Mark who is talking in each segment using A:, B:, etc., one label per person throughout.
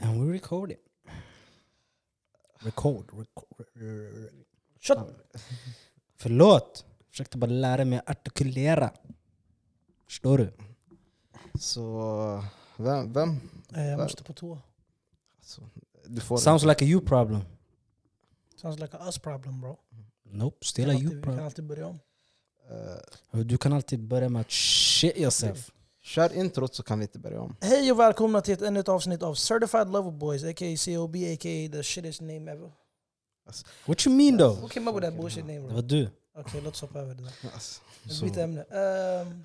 A: We're recording. Record. record Shut up. Förlåt. Försökte bara lära mig att artikulera. Förstår du?
B: Så vem? vem?
C: Eh, jag
B: Va-
C: måste på toa.
B: Alltså, du får
A: Sounds like a you problem.
C: Sounds like a us problem bro.
A: Nope,
C: Vi
A: still
C: kan,
A: a
C: alltid,
A: you
C: vi kan
A: problem.
C: alltid börja om.
B: Eh,
A: Du kan alltid börja med att shit yourself.
B: kör introt så kan vi inte börja om.
C: Hej och välkomna till ett ännu ett avsnitt av Certified Lover Boys, a.k.a. COB, a.k.a. the shittest name ever.
A: What you mean though?
C: Who came up with that bullshit name
A: Det
C: bro?
A: var du.
C: Okej, låt oss hoppa över det där.
B: Alltså,
C: Vi
A: Så,
C: byter ämne. Ehm,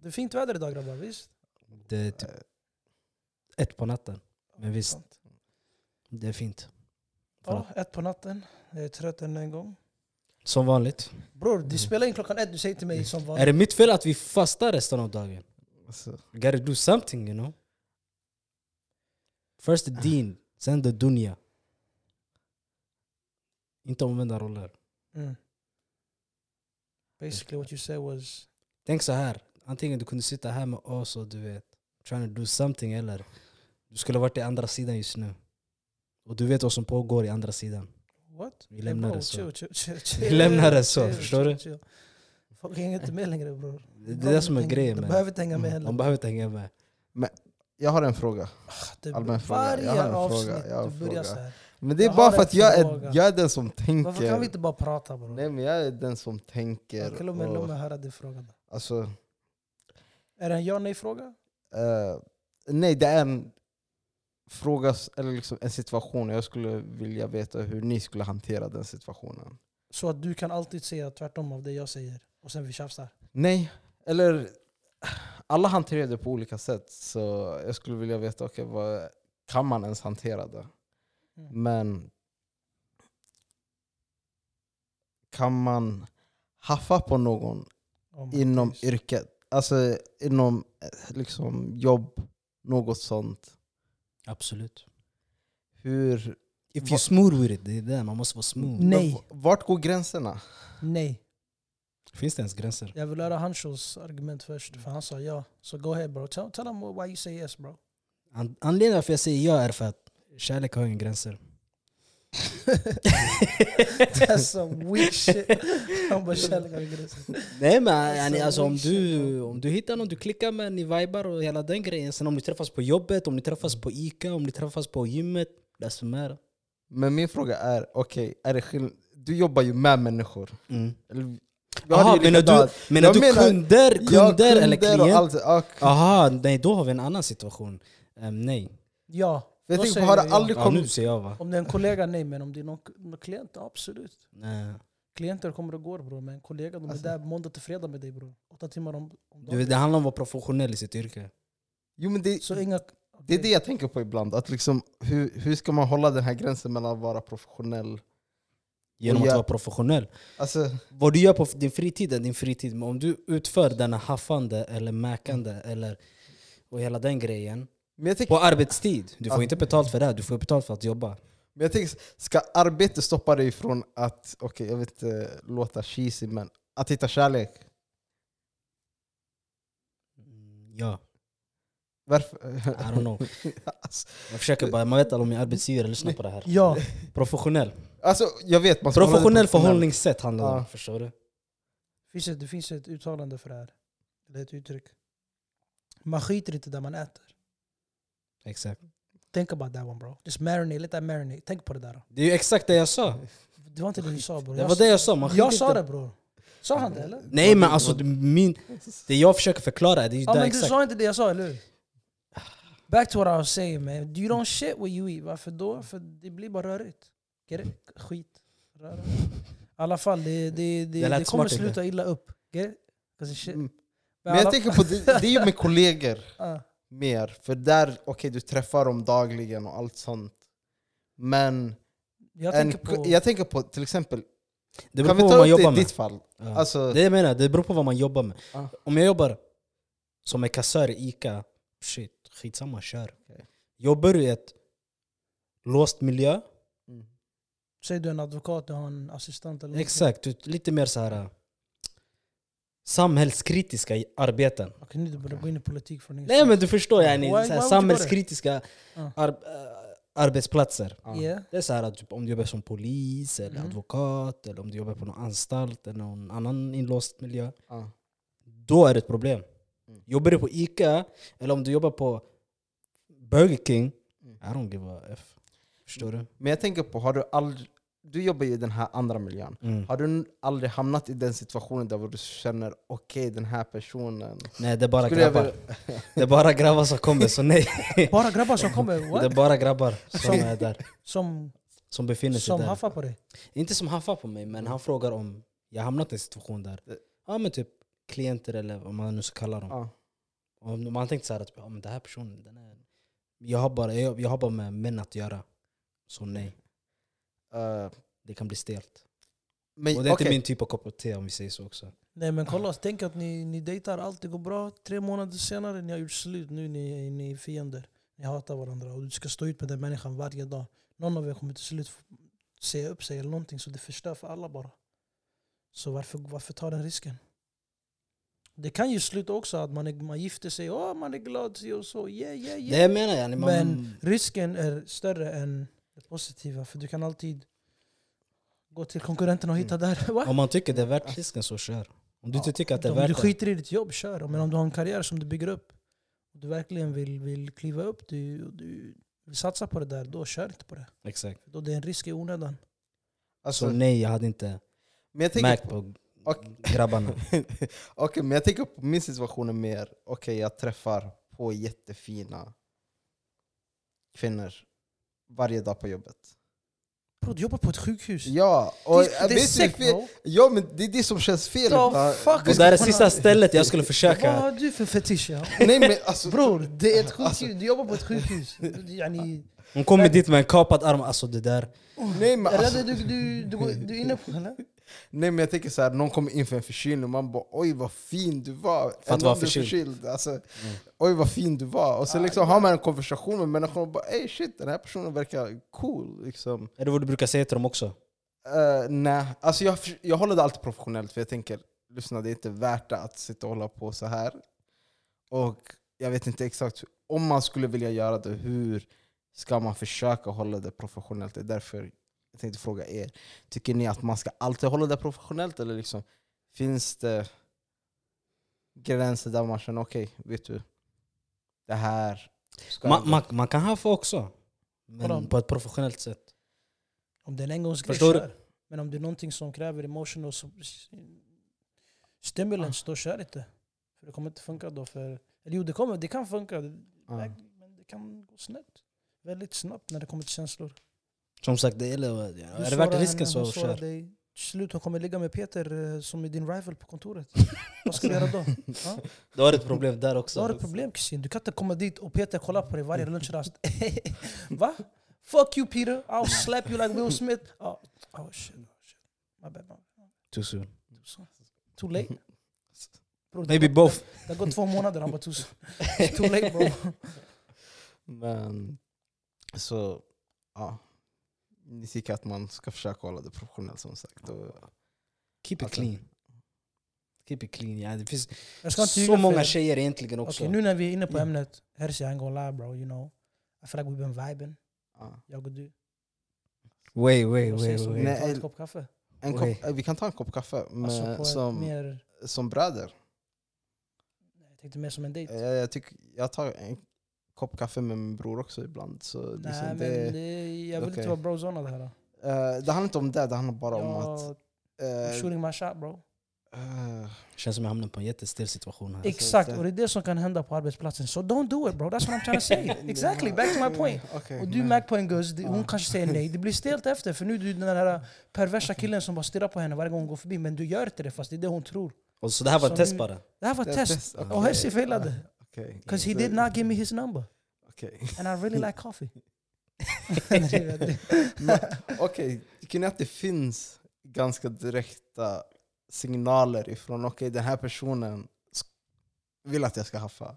C: det är fint väder idag grabbar, visst?
A: det är typ ett på natten. Men visst, det är fint.
C: Ja, ett på natten. Jag är trött ännu en gång.
A: Som vanligt.
C: Bror, du spelar in klockan ett, du säger till mig som
A: Mm. Är
C: vanligt.
A: det mitt fel att vi fastar resten av dagen?
B: alltså,
A: We gotta do something you know. First the din, sen the dunja. Inte omvända roller.
C: Mm. Basically what you said was...
A: Tänk så här. antingen du kunde sitta här med oss och du vet, trying to do something eller du skulle varit i andra sidan just nu. Och du vet vad som pågår i andra sidan.
C: What?
A: Vi lämnar
C: Bro,
A: det så.
C: chill, chill, chill,
A: Vi
C: chill,
A: lämnar det så,
C: chill,
A: förstår
C: chill,
A: du?
C: chill. Folk hänger inte med längre bror.
A: Det det är det som är grejen
C: De
A: med
C: behöver inte hänga med
A: Mm,
C: heller.
A: Man behöver inte hänga med.
B: jag har en fråga.
C: Det-
B: allmän fråga.
C: Typ, Varje
B: Jag har en
C: avsnitt
B: fråga. Jag har en
C: du börjar
B: fråga.
C: så här.
B: Men det är
C: Jag
B: bara
C: har
B: för
C: en
B: att jag
C: fråga.
B: är, jag är den som
C: Varför kan vi
B: tänker.
C: inte bara prata bror?
B: Nej men jag är den som
C: Ja,
B: tänker.
C: Låt mig- låt
B: Och,
C: mig höra din fråga. då.
B: alltså,
C: Är det en ja nej fråga?
B: eh, nej det är en fråga, s- eller liksom en situation. Jag skulle vilja veta hur ni skulle hantera den situationen.
C: Så att du kan alltid säga tvärtom av det jag säger. Och sen vi tjafsar.
B: Nej, eller alla hanterar det på olika sätt. Så jag skulle vilja veta, okay, vad, kan man ens hantera det?
C: Mm.
B: Men kan man haffa på någon
C: Oh my
B: inom
C: days.
B: yrket? Alltså inom eh, liksom, jobb, något sånt.
A: Absolut.
B: Hur,
A: If you
B: Va-
A: smooth with it, det är det. Man måste vara smooth.
C: Nej.
B: Men v- Vart går gränserna?
C: Nej.
A: Finns det ens gränser?
C: Jag vill höra Hanshos argument först. För han sa ja. Så go ahead bro. Tell, tell him why you say yes bro.
A: An- anledningen varför jag säger ja är för att kärlek har inga gränser.
C: That's some weak shit. Han bara kärlek har gränser.
A: Nej men yani, alltså,
C: Alltså,
A: om, du,
C: oj, shit.
A: om du hittar någon du klickar med, ni vibar och hela den grejen. Sen om ni träffas på jobbet, om ni träffas på Ica, om ni träffas på gymmet. That's the matter.
B: Men min fråga är, okej, är det skill- du jobbar ju med människor.
A: Mm.
B: Eller, jag hade
A: Jaha,
B: ju
A: menar du,
B: likadant.
A: menar
B: Jag
A: du
B: menar-
A: kunder, kunder,
B: Ja,
A: eller
B: kunder och
A: klient?
B: allt- ja,
A: Jaha, nej då har vi en annan situation. Ehm, nej,
C: Ja.
B: Jag
C: då
B: tänker,
C: säger
B: har det
C: jag
B: aldrig-
A: ja,
B: kom-
A: nu säger jag va?
C: Om det är en kollega, nej. Men om det är någon, någon klient, absolut.
A: Nej.
C: Klienter kommer och går bror, men kollegor de är
B: Alltså.
C: där måndag till fredag med dig bror. Åtta timmar om, om
A: Du, vet, det handlar om att vara professionell i sitt yrke.
B: Jo, men det,
C: Så inga...
B: Det är det jag tänker på ibland. Att liksom, hur, hur ska man hålla den här gränsen mellan att vara professionell...
A: Genom att
B: jag-
A: vara professionell.
B: Alltså,
A: Vad du gör på din fritid är din fritid. Men om du utför denna haffande eller mäkande eller och hela den grejen
B: men jag tänker,
A: på arbetstid. Du får
B: Ja.
A: inte betalt för det, här, du får betalt för att jobba.
B: men jag tänker ska arbete stoppa dig från att, okej jag vet inte låta cheesy men, att hitta kärlek?
A: Mm, Ja,
B: Varför?
A: I don't know.
B: Alltså,
A: Jag försöker bara, man vet aldrig om min arbetsgivare lyssnar på det här.
C: Ja,
A: Professionell.
B: alltså jag vet, man ska hålla det
A: Professionell
B: professionellt.
A: förhållningssätt handlar det om,
B: Ja.
A: förstår du?
C: finns ett, det finns ett uttalande för det här. Eller ett uttryck. Man skiter inte där man äter.
A: Exakt.
C: Think about that one bro. Just marinate, let that marinate. Tänk på det där.
A: Det är ju exakt det jag sa.
C: Det var inte det du sa bror.
A: Det var det jag sa. Man
C: jag,
A: skiter
C: jag sa
A: inte-
C: det bror. Sa han det eller?
A: Nej men alltså det- min, det jag försöker förklara det är ju
C: Ja
A: det
C: men du
A: exakt.
C: sa inte det jag sa eller hur? Back to what I was saying man. You don't shit what you eat. Varför då? För det blir bara rörigt. Get it? Skit. Röra. I alla fall, det, det, det,
A: Det
C: det,
A: lät
C: kommer
A: smart,
C: sluta illa upp. Get it? 'Cause it's shit.
B: Mm.
C: Men
B: Men
C: alla-
B: jag tänker på, det, det är ju med kollegor
C: Ah,
B: mer, för där, okej du träffar dem dagligen och allt sånt. Men
C: jag
B: en,
C: tänker på...
B: jag tänker på till exempel,
A: Det beror
B: kan
A: på vad
B: vi ta
A: man
B: upp det
A: jobbar
B: i
A: med.
B: ditt fall?
A: Ja.
B: Alltså,
A: Det jag menar, det beror på vad man jobbar med.
B: Ah.
A: Om jag jobbar som en kassör i Ica, shit, skitsamma, kör.
B: Okej.
A: Jobbar du i ett låst miljö,
B: mm.
C: Säg du är en advokat, du har en assistent eller någonting.
A: exakt, ut- lite mer så här äh, samhällskritiska i- arbeten.
C: Okej, nu börjar du gå in i politik från
A: Nej men du förstår, yani,
C: Why-
A: så
C: why would
A: här,
C: you go
A: samhällskritiska
C: Ah.
A: ar- äh, arbetsplatser.
B: Ja.
C: Yeah.
A: Det är så här att typ, om du jobbar som polis, eller
C: Mhm.
A: advokat, eller om du jobbar på någon anstalt eller någon annan inlåst miljö.
B: Ja.
A: Då är det ett problem.
B: Mm.
A: Jobbar du på Ica, eller om du jobbar på Burger King,
B: Mm.
A: I don't give a F. Förstår du?
B: Men jag tänker på, har du aldrig... Du jobbar ju i den här andra miljön.
A: Mm.
B: Har du n- aldrig hamnat i den situationen där du känner okej, den här personen...
A: Nej, det är bara
B: Skulle jag
A: grabbar.
B: vilja-
A: Det är bara grabbar som kommer, så nej.
C: Bara grabbar som kommer,
A: Det är
C: what?
A: bara grabbar som
C: Som-
A: är där.
C: Som,
A: Som befinner sig
C: som
A: där.
C: haffar på dig.
A: Inte som haffar på mig, men han frågar om jag hamnat i en situation där
B: Det-
A: ja, men typ klienter eller vad man nu ska kalla dem.
B: Ja.
A: Om man tänkte så här att ja, men den här personen, den är, jag, har bara, jag, jag har bara med män att göra. Så nej,
B: eh, men,
A: det kan bli stelt.
B: men,
A: Och det är
B: okej.
A: inte min typ av kopp te om vi säger så också.
C: Nej men kolla, tänk att ni, ni dejtar, allt det går bra. Tre månader senare, ni har gjort slut. Nu ni, är ni är fiender. Ni hatar varandra och du ska stå ut med den människan varje dag. Någon av er kommer till slut f- säga upp sig eller någonting så det förstör för alla bara. Så varför, varför ta den risken? Det kan ju sluta också att man, är, man gifter sig, åh man är glad si och så. Yeah, yeah, yeah.
A: Det menar jag. Man,
C: Men- Risken är större än det positiva för du kan alltid gå till konkurrenten och hitta där. Va?
A: om man tycker det är värt risken så kör. Om du inte
C: Ja,
A: tycker att det är
C: Om du
A: värt det.
C: skiter i ditt jobb, kör. Men om du har en karriär som du bygger upp, och du verkligen vill, vill kliva upp, du, du vill satsa på det där, då kör inte på det.
A: Exakt.
C: Då det är en risk i onödan.
B: Alltså,
A: Så nej, jag hade inte
B: men jag tänker
A: märkt
B: på,
A: på
B: Okej.
A: grabbarna.
B: okej, men jag tänker på min situation är mer, okej jag träffar på jättefina kvinnor varje dag på jobbet.
C: Bro, du jobbar på ett sjukhus.
B: Ja,
C: det,
B: och
C: är- det
B: vet
C: är
B: du hur
C: sekt
B: fel,
C: bro.
B: ja, men det är det som känns fel.
C: The
B: va?
C: fuck?
A: Det där är sista stället jag skulle försöka...
C: Vad har du för fetisch? Ja? Alltså.
B: Nej, men alltså,
C: Bror, det är ett sjukhus. Du jobbar på ett sjukhus. Du- yani,
A: Hon kommer dit med en kapad arm, alltså det där.
B: nej, men,
C: är
B: alltså,
C: det du, du, du, går- du är inne på eller?
B: nej men jag tänker så här, någon kommer in för en förkylning, man bara oj vad fin du var. Även om
A: vara
B: du är
A: förkyld. Mm.
B: Alltså, Oj vad fin du var. Och sen liksom har man en konversation med människor och bara ey shit den här personen verkar cool. Liksom.
A: Är det vad du brukar säga till dem också?
B: Eh, nej, alltså jag, förs- jag håller det alltid professionellt för jag tänker, lyssna det är inte värt det att sitta och hålla på så här. Och jag vet inte exakt, hur- om man skulle vilja göra det, hur ska man försöka hålla det professionellt? Det är därför jag tänkte fråga er. Tycker ni att man ska alltid hålla det professionellt? Eller liksom, finns det gränser där man känner, okej, vet du, det här ska jag
A: Man,
B: inte-
A: man, man kan haffa också. Men
C: Vadå?
A: på ett professionellt sätt.
C: Om det är en engångsgrej,
A: Förstår du?
C: kör. Men om det är någonting som kräver emotional s- s- stimulans, då kör inte. För det kommer inte funka då. För, eller jo, det, kommer, det kan funka,
B: Ja.
C: men det kan gå snett. Väldigt snabbt när det kommer till känslor.
A: Som sagt, det gäller, att-
C: Du
A: är det värt
C: sårar henne,
A: risken så
C: hon
A: kör.
C: sårar dig. Till slut hon kommer ligga med Peter eh, som är din rival på kontoret. Vad ska du göra då? Ja?
A: Då har du ett problem där
C: Då har du
A: också.
C: ett problem kusin. Du kan inte komma dit och Peter kollar på dig varje lunchrast. Va? Fuck you Peter, I'll slap you like Will Smith. Oh, oh shit, oh shit. My bad. man.
A: Too soon.
C: Tusen. Too late? Bro,
A: Maybe
C: det,
A: both.
C: Det har gått två månader, han bara tusen. It's Too late bro.
B: Men så, ja. Ni tycker att man ska försöka hålla det professionellt som sagt. Och,
A: Keep it
B: Alltså.
A: clean. Keep it clean. Ja, det finns
C: Jag ska inte ljuga
A: så
C: för
A: många
C: er.
A: tjejer egentligen
C: Okej,
A: också. Mm.
C: nu när vi är inne på
A: Ja.
C: ämnet. Hersi, I ain't gonna lie bro, you know. I feel like we've been vibing,
B: ja.
C: jag och du.
A: Wait, wait,
C: Vad sägs
A: wait.
C: om
A: wait.
C: vi tar
B: Nej.
C: ett kopp kaffe?
B: en kopp,
A: Oj.
B: eh, vi kan ta en kopp kaffe med,
C: Alltså på ett
B: som,
C: mer,
B: som bröder.
C: jag tänkte mer som en dejt.
B: Eh, Jag, tycker, jag tar en kopp kaffe med min bror också ibland. Så
C: Nej
B: liksom
C: men
B: det,
C: det, jag vill
B: okej.
C: inte vara brozonad här. då.
B: eh, det handlar inte om det, det handlar bara om att...
C: Jag,
B: eh,
C: shooting my shot bro.
B: eh,
A: Känns som jag hamnar på en jättestel situation här.
C: Exakt,
B: det-
C: och det är det som kan hända på arbetsplatsen. So don't do it bro, that's what I'm trying to say. exactly, back to my point.
B: okej,
C: Och du
B: men-
C: märker på en guzz, det- hon
B: Ja.
C: kanske säger nej. Det blir stelt efter, för nu är du den här perversa killen som bara stirrar på henne varje gång hon går förbi. Men du gör inte det, fast det är det hon tror.
A: Och så det här var ett
C: Så
A: test
C: nu-
A: bara.
C: Det här var
B: Det
C: ett
B: är
C: test.
B: test,
C: Och
B: okej.
C: Hersi failade.
B: Okej.
C: Cause he did not give me his number.
B: Okej.
C: And I really like coffee.
B: Men, Okej, tycker ni att det finns ganska direkta signaler ifrån okej, den här personen sk- vill att jag ska haffa?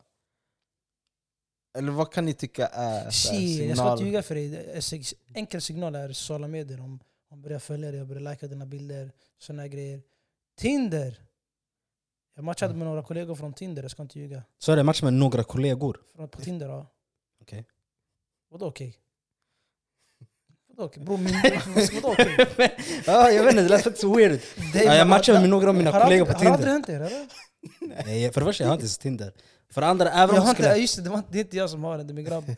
B: Eller vad kan ni tycka är
A: Alltså,
B: så här
C: Shit, jag ska inte
B: signaler?
C: ljuga för dig. Det är sig- Enkel signal är sociala medier. Om om börjar följa dig, jag börjar likea dina bilder, sådana grejer. Tinder! Jag
A: Mm.
C: matchade med några kollegor från Tinder, jag ska inte ljuga.
A: Så är det match med några kollegor.
C: Från, på Tinder ja.
A: Okej.
C: Vadå okej? Vadå okej? Bror, min... Vadå okej?
A: Ja, jag vet inte, det lät faktiskt weird.
C: Det-
A: Ja, jag matchade med några av mina
C: Har aldrig-
A: kollegor på
C: Har aldrig
A: Tinder.
C: hänt er eller?
A: Nej, för det första, jag har inte ens Tinder. För det andra, även
C: Jag
A: om
C: har
A: jag
C: inte,
A: skulle...
C: just det, det, var, inte- det är inte jag som har den, det är min grabb.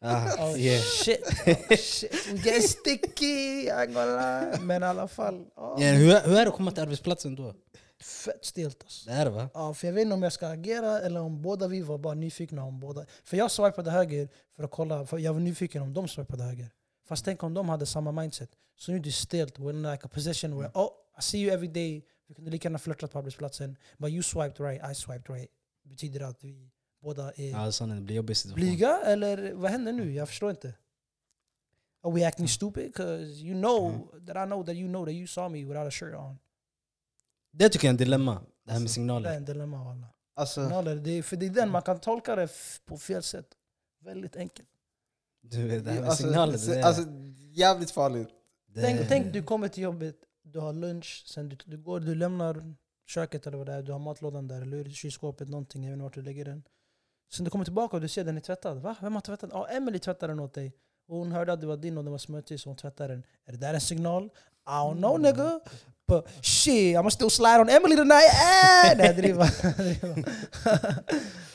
A: Ah,
C: Oh,
A: yeah.
C: Shit, oh, shit. We get sticky, Angola. Men i alla fall. ja,
A: Ja, hur, hur är det att komma till arbetsplatsen då?
C: Fett stelt alltså.
A: Det är det va?
C: Ja, för jag vet inte om jag ska agera eller om båda vi var bara nyfikna om båda. För jag swipade höger för att kolla, för jag var nyfiken om de swipade höger. Fast tänk om de hade samma mindset. Så nu är det stelt, we're like a position where
A: Mm.
C: oh, I see you every day. Vi kunde lika gärna flörtat på arbetsplatsen. But you swiped right, I swiped right. Betyder det att vi båda är
A: Ja, sanningen, det blir jobbig situation.
C: blyga eller vad händer nu? Jag förstår inte. Are we
A: Mm.
C: acting stupid? Cause you know that I know that you know that you saw me without a shirt on.
A: Det tycker jag är en dilemma, det här med
C: Det är
A: signaler.
C: en dilemma walla.
B: Alltså,
C: Signaler, det är, för det är den man kan tolka det f- på fel sätt. Väldigt enkelt.
A: Du, vet, det här med
B: alltså,
A: signaler, det, är-
B: alltså, jävligt farligt.
A: det,
C: Tänk, tänk du kommer till jobbet, du har lunch, sen du, du, går, du lämnar köket eller vad det är, du har matlådan där, eller ur kylskåpet, någonting, jag vet inte vart du lägger den. Sen du kommer tillbaka och du ser den är tvättad. Va? Vem har tvättat den? Ja, Emily tvättade den åt dig. Och hon hörde att det var din och den var smutsig så hon tvättade den. Är det där en signal? I don't know nigga. But shit, I'm still slide on Emily tonight. Eh! Nej, driva. driva.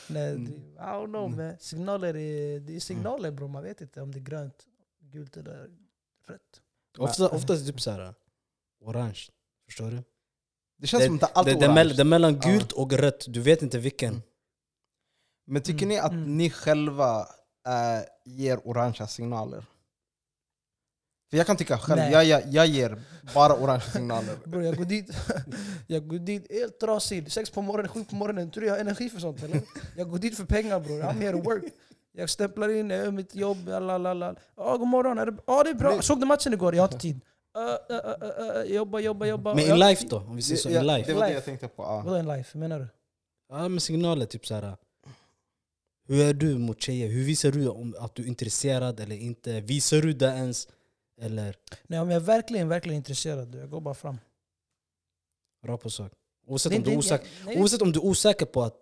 C: Nej, driva. I don't know man. Mm. Signaler är, det är signaler bror, man vet inte om det är grönt, gult eller rött.
A: Ofta, oftast typ såhär, orange. Förstår du?
B: Det känns som att det är allt
A: det, det, är
B: orange.
A: mell- det är mellan gult och rött, du vet inte vilken.
B: Mm. Men tycker
C: Mm,
B: ni att
C: mm.
B: ni själva eh, ger orangea signaler? För jag kan tycka själv,
C: Nej.
B: jag, jag, jag ger bara orangea signaler.
C: Bror jag går dit, jag går dit helt trasig. Sex på morgonen, sju på morgonen. Tror du jag har energi för sånt eller? Jag går dit för pengar bror. I'm here to work. Jag stämplar in, jag gör mitt jobb. Lalalala. Ja, god morgon. Är det, ja, det är bra. Såg du matchen igår? Jag har inte tid. Uh, uh, uh, uh, jobba, jobba, jobba.
A: Men
C: Ja,
A: in life då, om vi säger så,
B: Ja,
A: in
B: Det
A: life.
B: var det
C: Life.
B: jag tänkte på. Ja.
C: Vadå in life? Menar du?
A: Ja men signaler, typ såhär. Hur är du mot tjejer? Hur visar du om att du är intresserad eller inte? Visar du det ens? Eller,
C: Nej, om jag är verkligen, verkligen intresserad, då, jag går bara fram.
A: rakt på sak.
C: Det
A: Oavsett
C: är
A: om du är
C: inte-
A: osäker.
C: nej,
A: Oavsett om du är osäker på att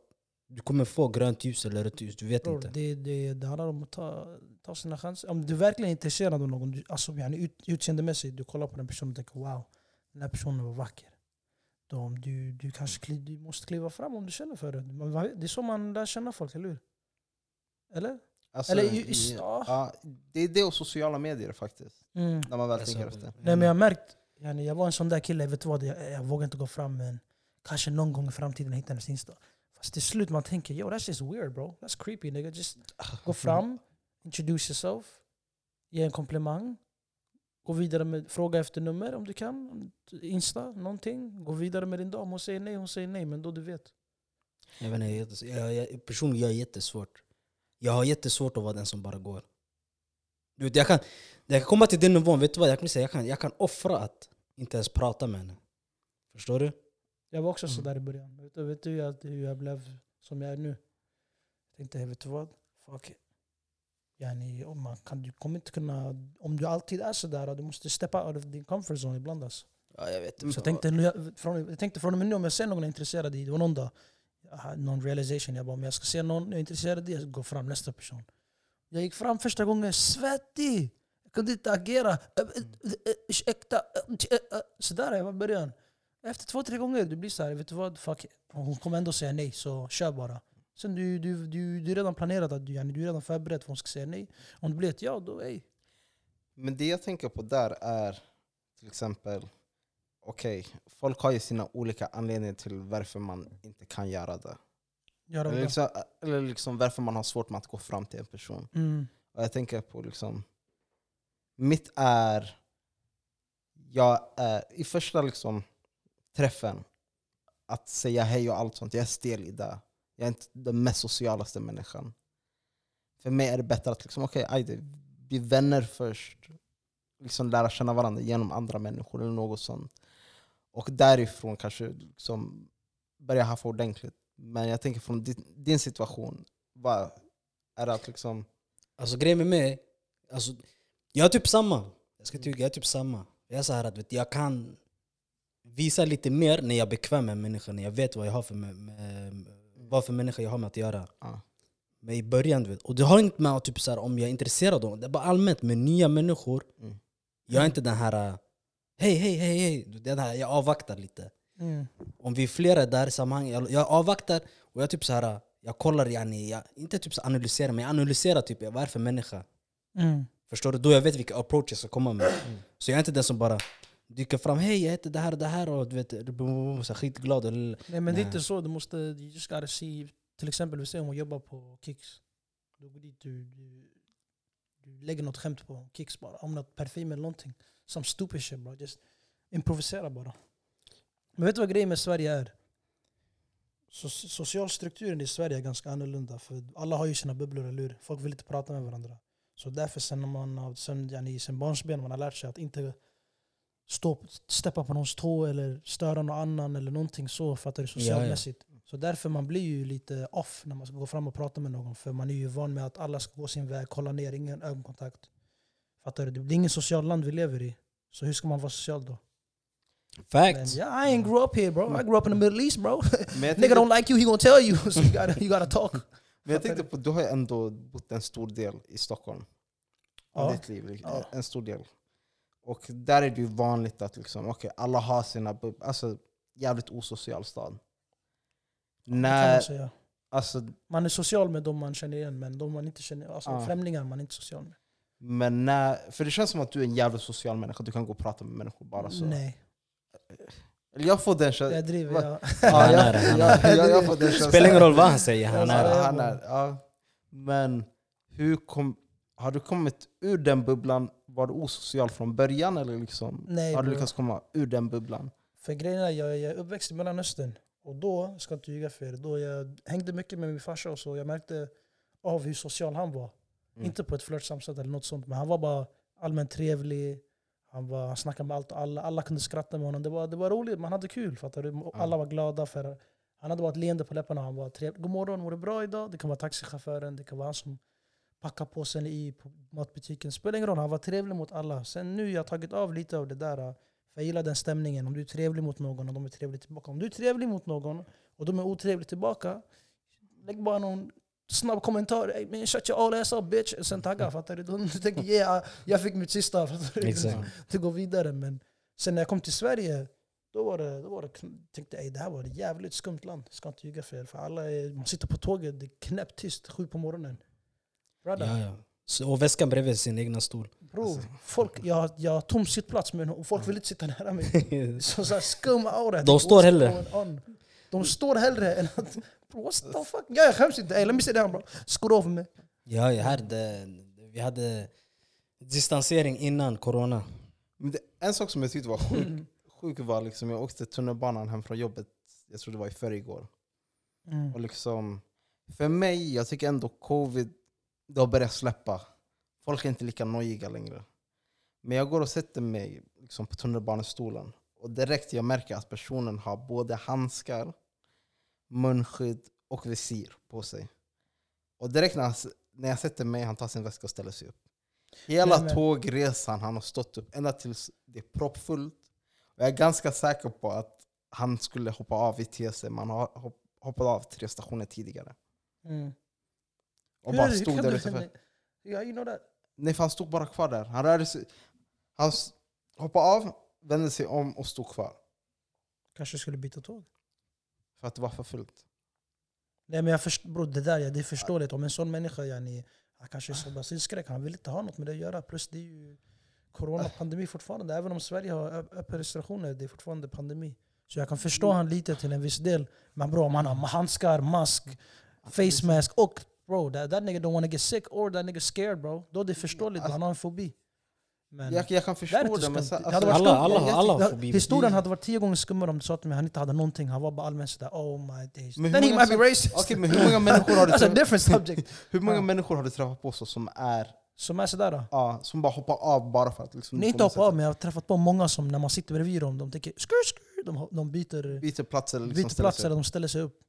A: du kommer få grönt ljus eller rött ljus, du vet
C: Bror,
A: Typ inte.
C: det, det, det handlar om att ta, ta sina chanser. Om du verkligen är intresserad av någon, du, alltså, yani, ut, utseendemässigt, du kollar på den personen och tänker wow, den här personen var vacker. Då, om du, du kanske kli, du måste kliva fram om du känner för det. Man, man- det är så man lär känna folk, eller hur? Eller?
B: Alltså,
C: eller ju-
B: i-
C: ja.
B: ja, det är det och sociala medier faktiskt,
C: Mm.
B: när man väl
A: Alltså,
B: tänker efter.
C: Nej, men Ah. jag har märkt, yani, jag var en sån där kille, vet du vad, jag, jag vågar inte gå fram men kanske någon gång i framtiden hittar hennes insta. Fast till slut man tänker yo that's just weird bro, that's creepy nigga. Just gå fram, introduce yourself, ge en komplimang, gå vidare med, fråga efter nummer om du kan, om du- insta, någonting. Gå vidare med din dag. Om hon säger nej, hon säger nej, men då du vet.
A: Jag vet inte, jag är jättes- jag, jag, personligen jag är jättesvårt. Jag har jättesvårt att vara den som bara går. Du vet, jag, kan, jag kan komma till den nivån, vet du vad? Jag kan, säga, jag kan, jag kan offra att inte ens prata med henne. Förstår du?
C: Jag var också
B: Mm.
C: sådär i början. Vet du, vet du hur, jag, hur jag blev som jag är nu? Jag tänkte, vet du vad? Fuck it. Yani, om man kan, du kommer inte kunna, om du alltid är sådär, du måste steppa out of din comfort zone ibland. Alltså.
A: Ja, jag vet.
C: Så jag tänkte, nu, jag, från, jag tänkte från och med nu om jag ser någon jag är intresserad i, det var någon dag, jag hade någon realization, jag bara om jag ska se någon jag är intresserad i, jag går fram nästa person. Jag gick fram första gången, svettig! Jag kunde inte agera. Ö, ö, ö, ö, Ursäkta. ö, ö, ö. Sådär jag var i början. Efter två, tre gånger, du blir såhär, vet du vad? Fuck. it. Hon kommer ändå säga nej, så kör bara. Sen du, du, du, du är redan planerat, att du, yani, du är redan förberedd för att hon ska säga nej. Om det blir ett ja, då ej.
B: Men det jag tänker på där är till exempel, okej, folk har ju sina olika anledningar till varför man inte kan göra det.
C: Gör det
B: Eller
C: bra.
B: liksom, eller liksom varför man har svårt med att gå fram till en person.
C: Mm.
B: Och jag tänker på liksom, mitt är, jag är, i första liksom, träffen, att säga hej och allt sånt, jag är stel i det. Jag är inte den mest socialaste människan. För mig är det bättre att liksom, okay, aj, det- bli vänner först, liksom lära känna varandra genom andra människor eller något sånt. Och därifrån kanske liksom börja haffa ordentligt. Men jag tänker från din, din situation, vad är det att liksom...
A: Alltså grejen med mig, alltså, jag är typ samma. Jag ska tycka, jag är typ samma. Jag är så här att vet, du, jag kan visa lite mer när jag är bekväm med människan, när jag vet vad jag har för, med, med, vad för människa jag har med att göra.
B: Ja.
A: Men i början, du vet, och det har inget med att typ, så här, om jag är intresserad av dem, det är bara allmänt med nya människor.
B: Mm.
A: Jag är inte den här äh, hej, hej, hej, hej. Du, Den här, jag avvaktar lite.
C: Mm.
A: Om vi är flera där i sammanhang, jag, jag avvaktar och jag typ så här, äh, jag kollar, yani, jag, inte typ så analyserar, men jag analyserar typ, vad är det för människa?
C: Mm.
A: Förstår du? Då jag vet vilka approach jag ska komma med. Så jag är inte den som bara dyker fram, hej jag heter det här och det här och du vet, så här skitglad. eller-
C: Nej men det är
A: Nej.
C: inte så, du måste, you just gotta see. Till exempel, vi säger hon jobbar på Kicks. Du går dit, du, du, du lägger något skämt på Kicks bara. Om något parfym eller någonting. Some stupid shit bara. Just improvisera bara. Men vet du vad grejen med Sverige är? So socialstrukturen i Sverige är ganska annorlunda. För alla har ju sina bubblor, eller hur? Folk vill inte prata med varandra. Så därför sen när man har- sen, yani, sen barnsben man har lärt sig att inte stå, steppa på någons tå eller störa någon annan eller någonting så fattar du socialmässigt. Så därför man blir ju lite off när man ska gå fram och prata med någon. För man är ju van med att alla ska gå sin väg, kolla ner, ingen ögonkontakt. Fattar du? Det är ingen social land vi lever i. Så hur ska man vara social då? Man,
A: Facts!
C: yeah, I ain't grew up here bro. I grew up in the middle east bro.
B: Men jag tänkte,
C: Nigga don't like you, he gonna tell you. So you gotta, you gotta talk.
B: men jag tänkte på, du har ju ändå bott en stor del i Stockholm. av
C: Ja.
B: ditt liv. liksom.
C: Ja.
B: En stor del. Och där är det ju vanligt att liksom, okay, alla har sina bub- Alltså, jävligt osocial stad.
C: Det kan man
B: När,
C: säga.
B: alltså,
C: Man är social med de man känner igen, men de man inte känner, alltså
B: Ja.
C: främlingar man är inte social med.
B: men när, för det känns som att du är en jävligt social människa, du kan gå och prata med människor bara så.
C: Nej,
B: Eller jag får den känslan.
C: jag driver.
B: Va?
C: Jag,
B: Ja,
A: Han är
B: jag,
A: det, han är
B: jag,
C: det.
B: jag, jag får den känslan.
A: Spelar ingen roll vad han säger, han
B: Han
A: är det.
B: är, han är, ja. Men hur kom, har du kommit ur den bubblan? Var du osocial från början? Eller liksom,
C: Nej,
B: har du
C: bro.
B: lyckats komma ur den bubblan?
C: För grejen är, jag, jag är uppväxt i Mellanöstern. Och då, jag ska inte ljuga för er, då jag hängde mycket med min farsa och så. Jag märkte av hur social han var.
B: Mm.
C: Inte på ett flörtsamt sätt eller något sånt, men han var bara allmänt trevlig. Han, var, han snackade med allt och alla. Alla kunde skratta med honom. Det var, det var roligt, man hade kul. Fattar du? Och Alla var glada. för Han hade bara ett leende på läpparna. Han var trevlig. God morgon, mår du bra idag? Det kan vara taxichauffören, det kan vara han som packar påsen i på matbutiken. Spelar ingen roll, han var trevlig mot alla. Sen nu, jag har tagit av lite av det där. För jag gillar den stämningen. Om du är trevlig mot någon och de är trevliga tillbaka. Om du är trevlig mot någon och de är otrevliga tillbaka, lägg bara någon snabb kommentar. Hey, man, shut your all ass up bitch. Och sen tagga, fattar du? De tänker yeah, jag fick mitt sista. Fattar du?
A: Exakt.
C: Det går vidare. Men sen när jag kom till Sverige, då var det, då var det, kn- tänkte jag "Ey, det här var ett jävligt skumt land. Jag ska inte ljuga för er. För alla är, man sitter på tåget, det är knäpptyst sju på morgonen. Brother,
A: Ja, ja. Så, och väskan bredvid sin egna stol.
C: bro, folk, jag, har- jag har tom sittplats men och folk vill inte sitta nära mig. Så, så här skum aura.
A: De står
C: What's
A: hellre.
C: going on? De står hellre än att... Bro, what the fuck? Ja, jag skäms inte. Ey, let me sit down bro. Skor av mig.
A: Ja, ja, här, det, vi hade distansering innan corona.
B: Men det, en sak som jag tyckte var sjuk, sjuk var liksom, jag åkte tunnelbanan hem från jobbet, jag tror det var i förrgår.
C: Mm.
B: Och liksom, för mig, jag tycker ändå covid, det har börjat släppa. Folk är inte lika nojiga längre. Men jag går och sätter mig liksom, på tunnelbanestolen och direkt jag märker att personen har både handskar, munskydd och visir på sig. Och direkt när, han, s- när jag sätter mig, han tar sin väska och ställer sig upp. Hela
C: Nej, men-
B: tågresan han har stått upp, ända tills det är proppfullt. Och jag är ganska säker på att han skulle hoppa av i TC, men han har hopp- hoppat av tre stationer tidigare.
C: Mm.
B: Och
C: Hur
B: bara
C: är det? Hur
B: stod
C: kan
B: där
C: du-
B: utanför.
C: Ja, you know that.
B: Nej, för han stod bara kvar där. Han rörde sig. Han s- hoppade av, vände sig om och stod kvar.
C: Kanske skulle byta tåg.
B: För att det var för fullt.
C: Nej men jag först, bro, det där ja, det är förståeligt. Om en sån människa, yani, han kanske är så basilskräck, han vill inte ha något med det att göra. Plus det är ju coronapandemi fortfarande. Även om Sverige har ö- öppna restriktioner, det är fortfarande pandemi. Så jag kan förstå han lite till en viss del. Men bro, om han har handskar, mask, face mask och bro, that, that nigga don't wanna get sick or that nigga scared bro. Då är det förståeligt, han har en fobi. Men,
B: Jag, jag kan
C: Det
B: förstå
C: är inte
B: det, men... alltså,
C: skumt.
B: sen-
C: Det hade varit
A: Alla,
C: skumt.
A: alla, har- alla
C: Ja,
A: har fobi.
C: historien hade varit tio gånger skummare om du sa till mig han inte hade någonting. Han var bara allmänt sådär oh my days.
B: Men hur
C: Then he
B: många
C: might be
B: som-
C: racist.
B: Okej, men hur många människor har du
C: That's a
B: träffat,
C: different subject.
B: hur många
C: Ja.
B: människor har du träffat på så som är...
C: Som är sådär. Då.
B: Ja, som bara hoppar av bara för att liksom...
C: Ni
B: de
C: är inte
B: kommer
C: hoppat av, men jag har träffat på många som när man sitter bredvid dem, de tänker skur, skur, de, de byter,
B: Byter plats eller liksom
C: byter
B: ställer
C: plats
B: sig Mm. upp.
C: eller de ställer sig upp.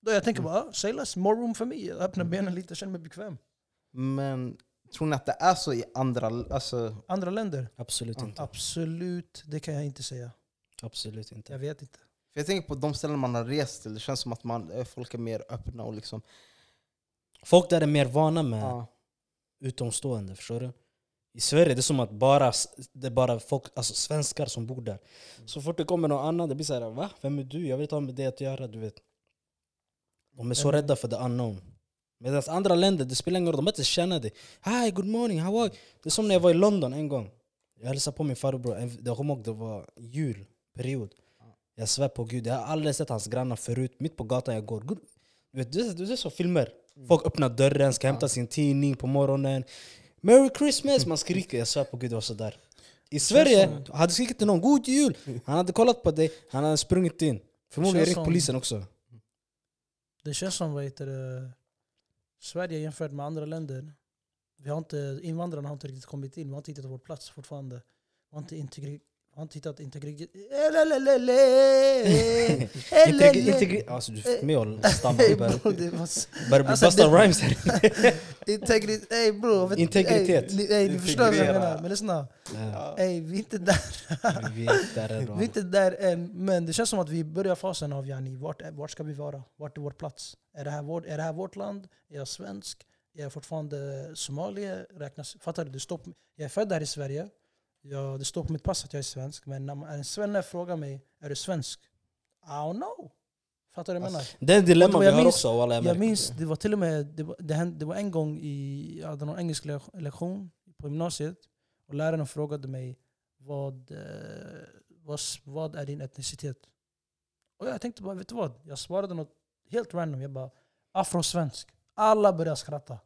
C: Då jag tänker bara, ah, say less, more room for me. Jag
B: Mm.
C: öppnar benen lite, känner mig bekväm.
B: Men tror ni att det är så i andra... Alltså,
C: Andra länder?
A: Absolut
B: Ja.
A: inte.
C: Absolut, det kan jag inte säga.
A: Absolut
C: Jag
A: inte.
C: vet inte.
B: För jag tänker på de ställen man har rest till, det känns som att man, eh, folk är mer öppna och liksom...
A: Folk där är mer vana med
B: Ja.
A: utomstående, förstår du? I Sverige det är som att bara, det är bara folk, alltså svenskar som bor där. Så fort det kommer någon annan, det blir såhär va? Vem är du? Jag vill inte ha med det att göra. Du vet. De är så
C: Mm.
A: rädda för the unknown. Medan andra länder, det spelar ingen roll, de inte känna dig. Hi, good morning, how are you? Det är som när jag var i London en gång. Jag hälsade på min farbror, En- jag kommer ihåg det var julperiod. Jag svär på gud, jag har aldrig sett hans grannar förut, mitt på gatan jag går. Good. Du vet, det är- det är så filmer. Folk öppnar dörren, ska hämta sin tidning på morgonen. Merry Christmas! Man skriker, jag svär på gud det var sådär. I Sverige, han hade skrikit till någon god jul, han hade kollat på dig, han hade sprungit in. Förmodligen
C: Känns
A: ringt
C: som-
A: polisen också.
C: Det känns som vad heter det, Sverige jämfört med andra länder. Vi har inte, invandrarna har inte riktigt kommit in. Vi har inte hittat vår plats fortfarande. Vi har inte, integri, vi har inte hittat integritet.
A: Integri- integri- alltså du fick mig att stamma. Jag börjar- börjar bli
C: Alltså,
A: Busta
C: det-
A: Rhymes här.
C: Integritet. Ey bror. vet-
A: Integritet.
C: ey, ni- Ey ni förstår vad jag
B: Integrera.
C: menar. Men lyssna.
A: Ja,
C: Ey vi är inte där.
A: vi är där ändå.
C: Vi är inte där än. Men det känns som att vi börjar fasen av yani, vart, är- vart ska vi vara? Vart är vår plats? Är det här, vår, är det här vårt land? Är jag svensk? Är jag fortfarande somalier? Räknas, fattar du? Det står på, jag är född här i Sverige. Jag, det står på mitt pass att jag är svensk. Men när man, en svenne frågar mig, är du svensk? I don't know. Fattar du vad jag menar?
A: Det är en dilemma
C: Jag
A: vi har
C: minns-
A: också. wallah,
C: Jag
A: märker det.
C: minns, det var till och med det var, det hände, det var en gång i, jag hade någon engelsk le- lektion på gymnasiet och läraren frågade mig vad, eh, vad, s- vad är din etnicitet? Och jag tänkte bara, vet du vad? Jag svarade något helt random. Jag bara, afrosvensk. Alla började skratta.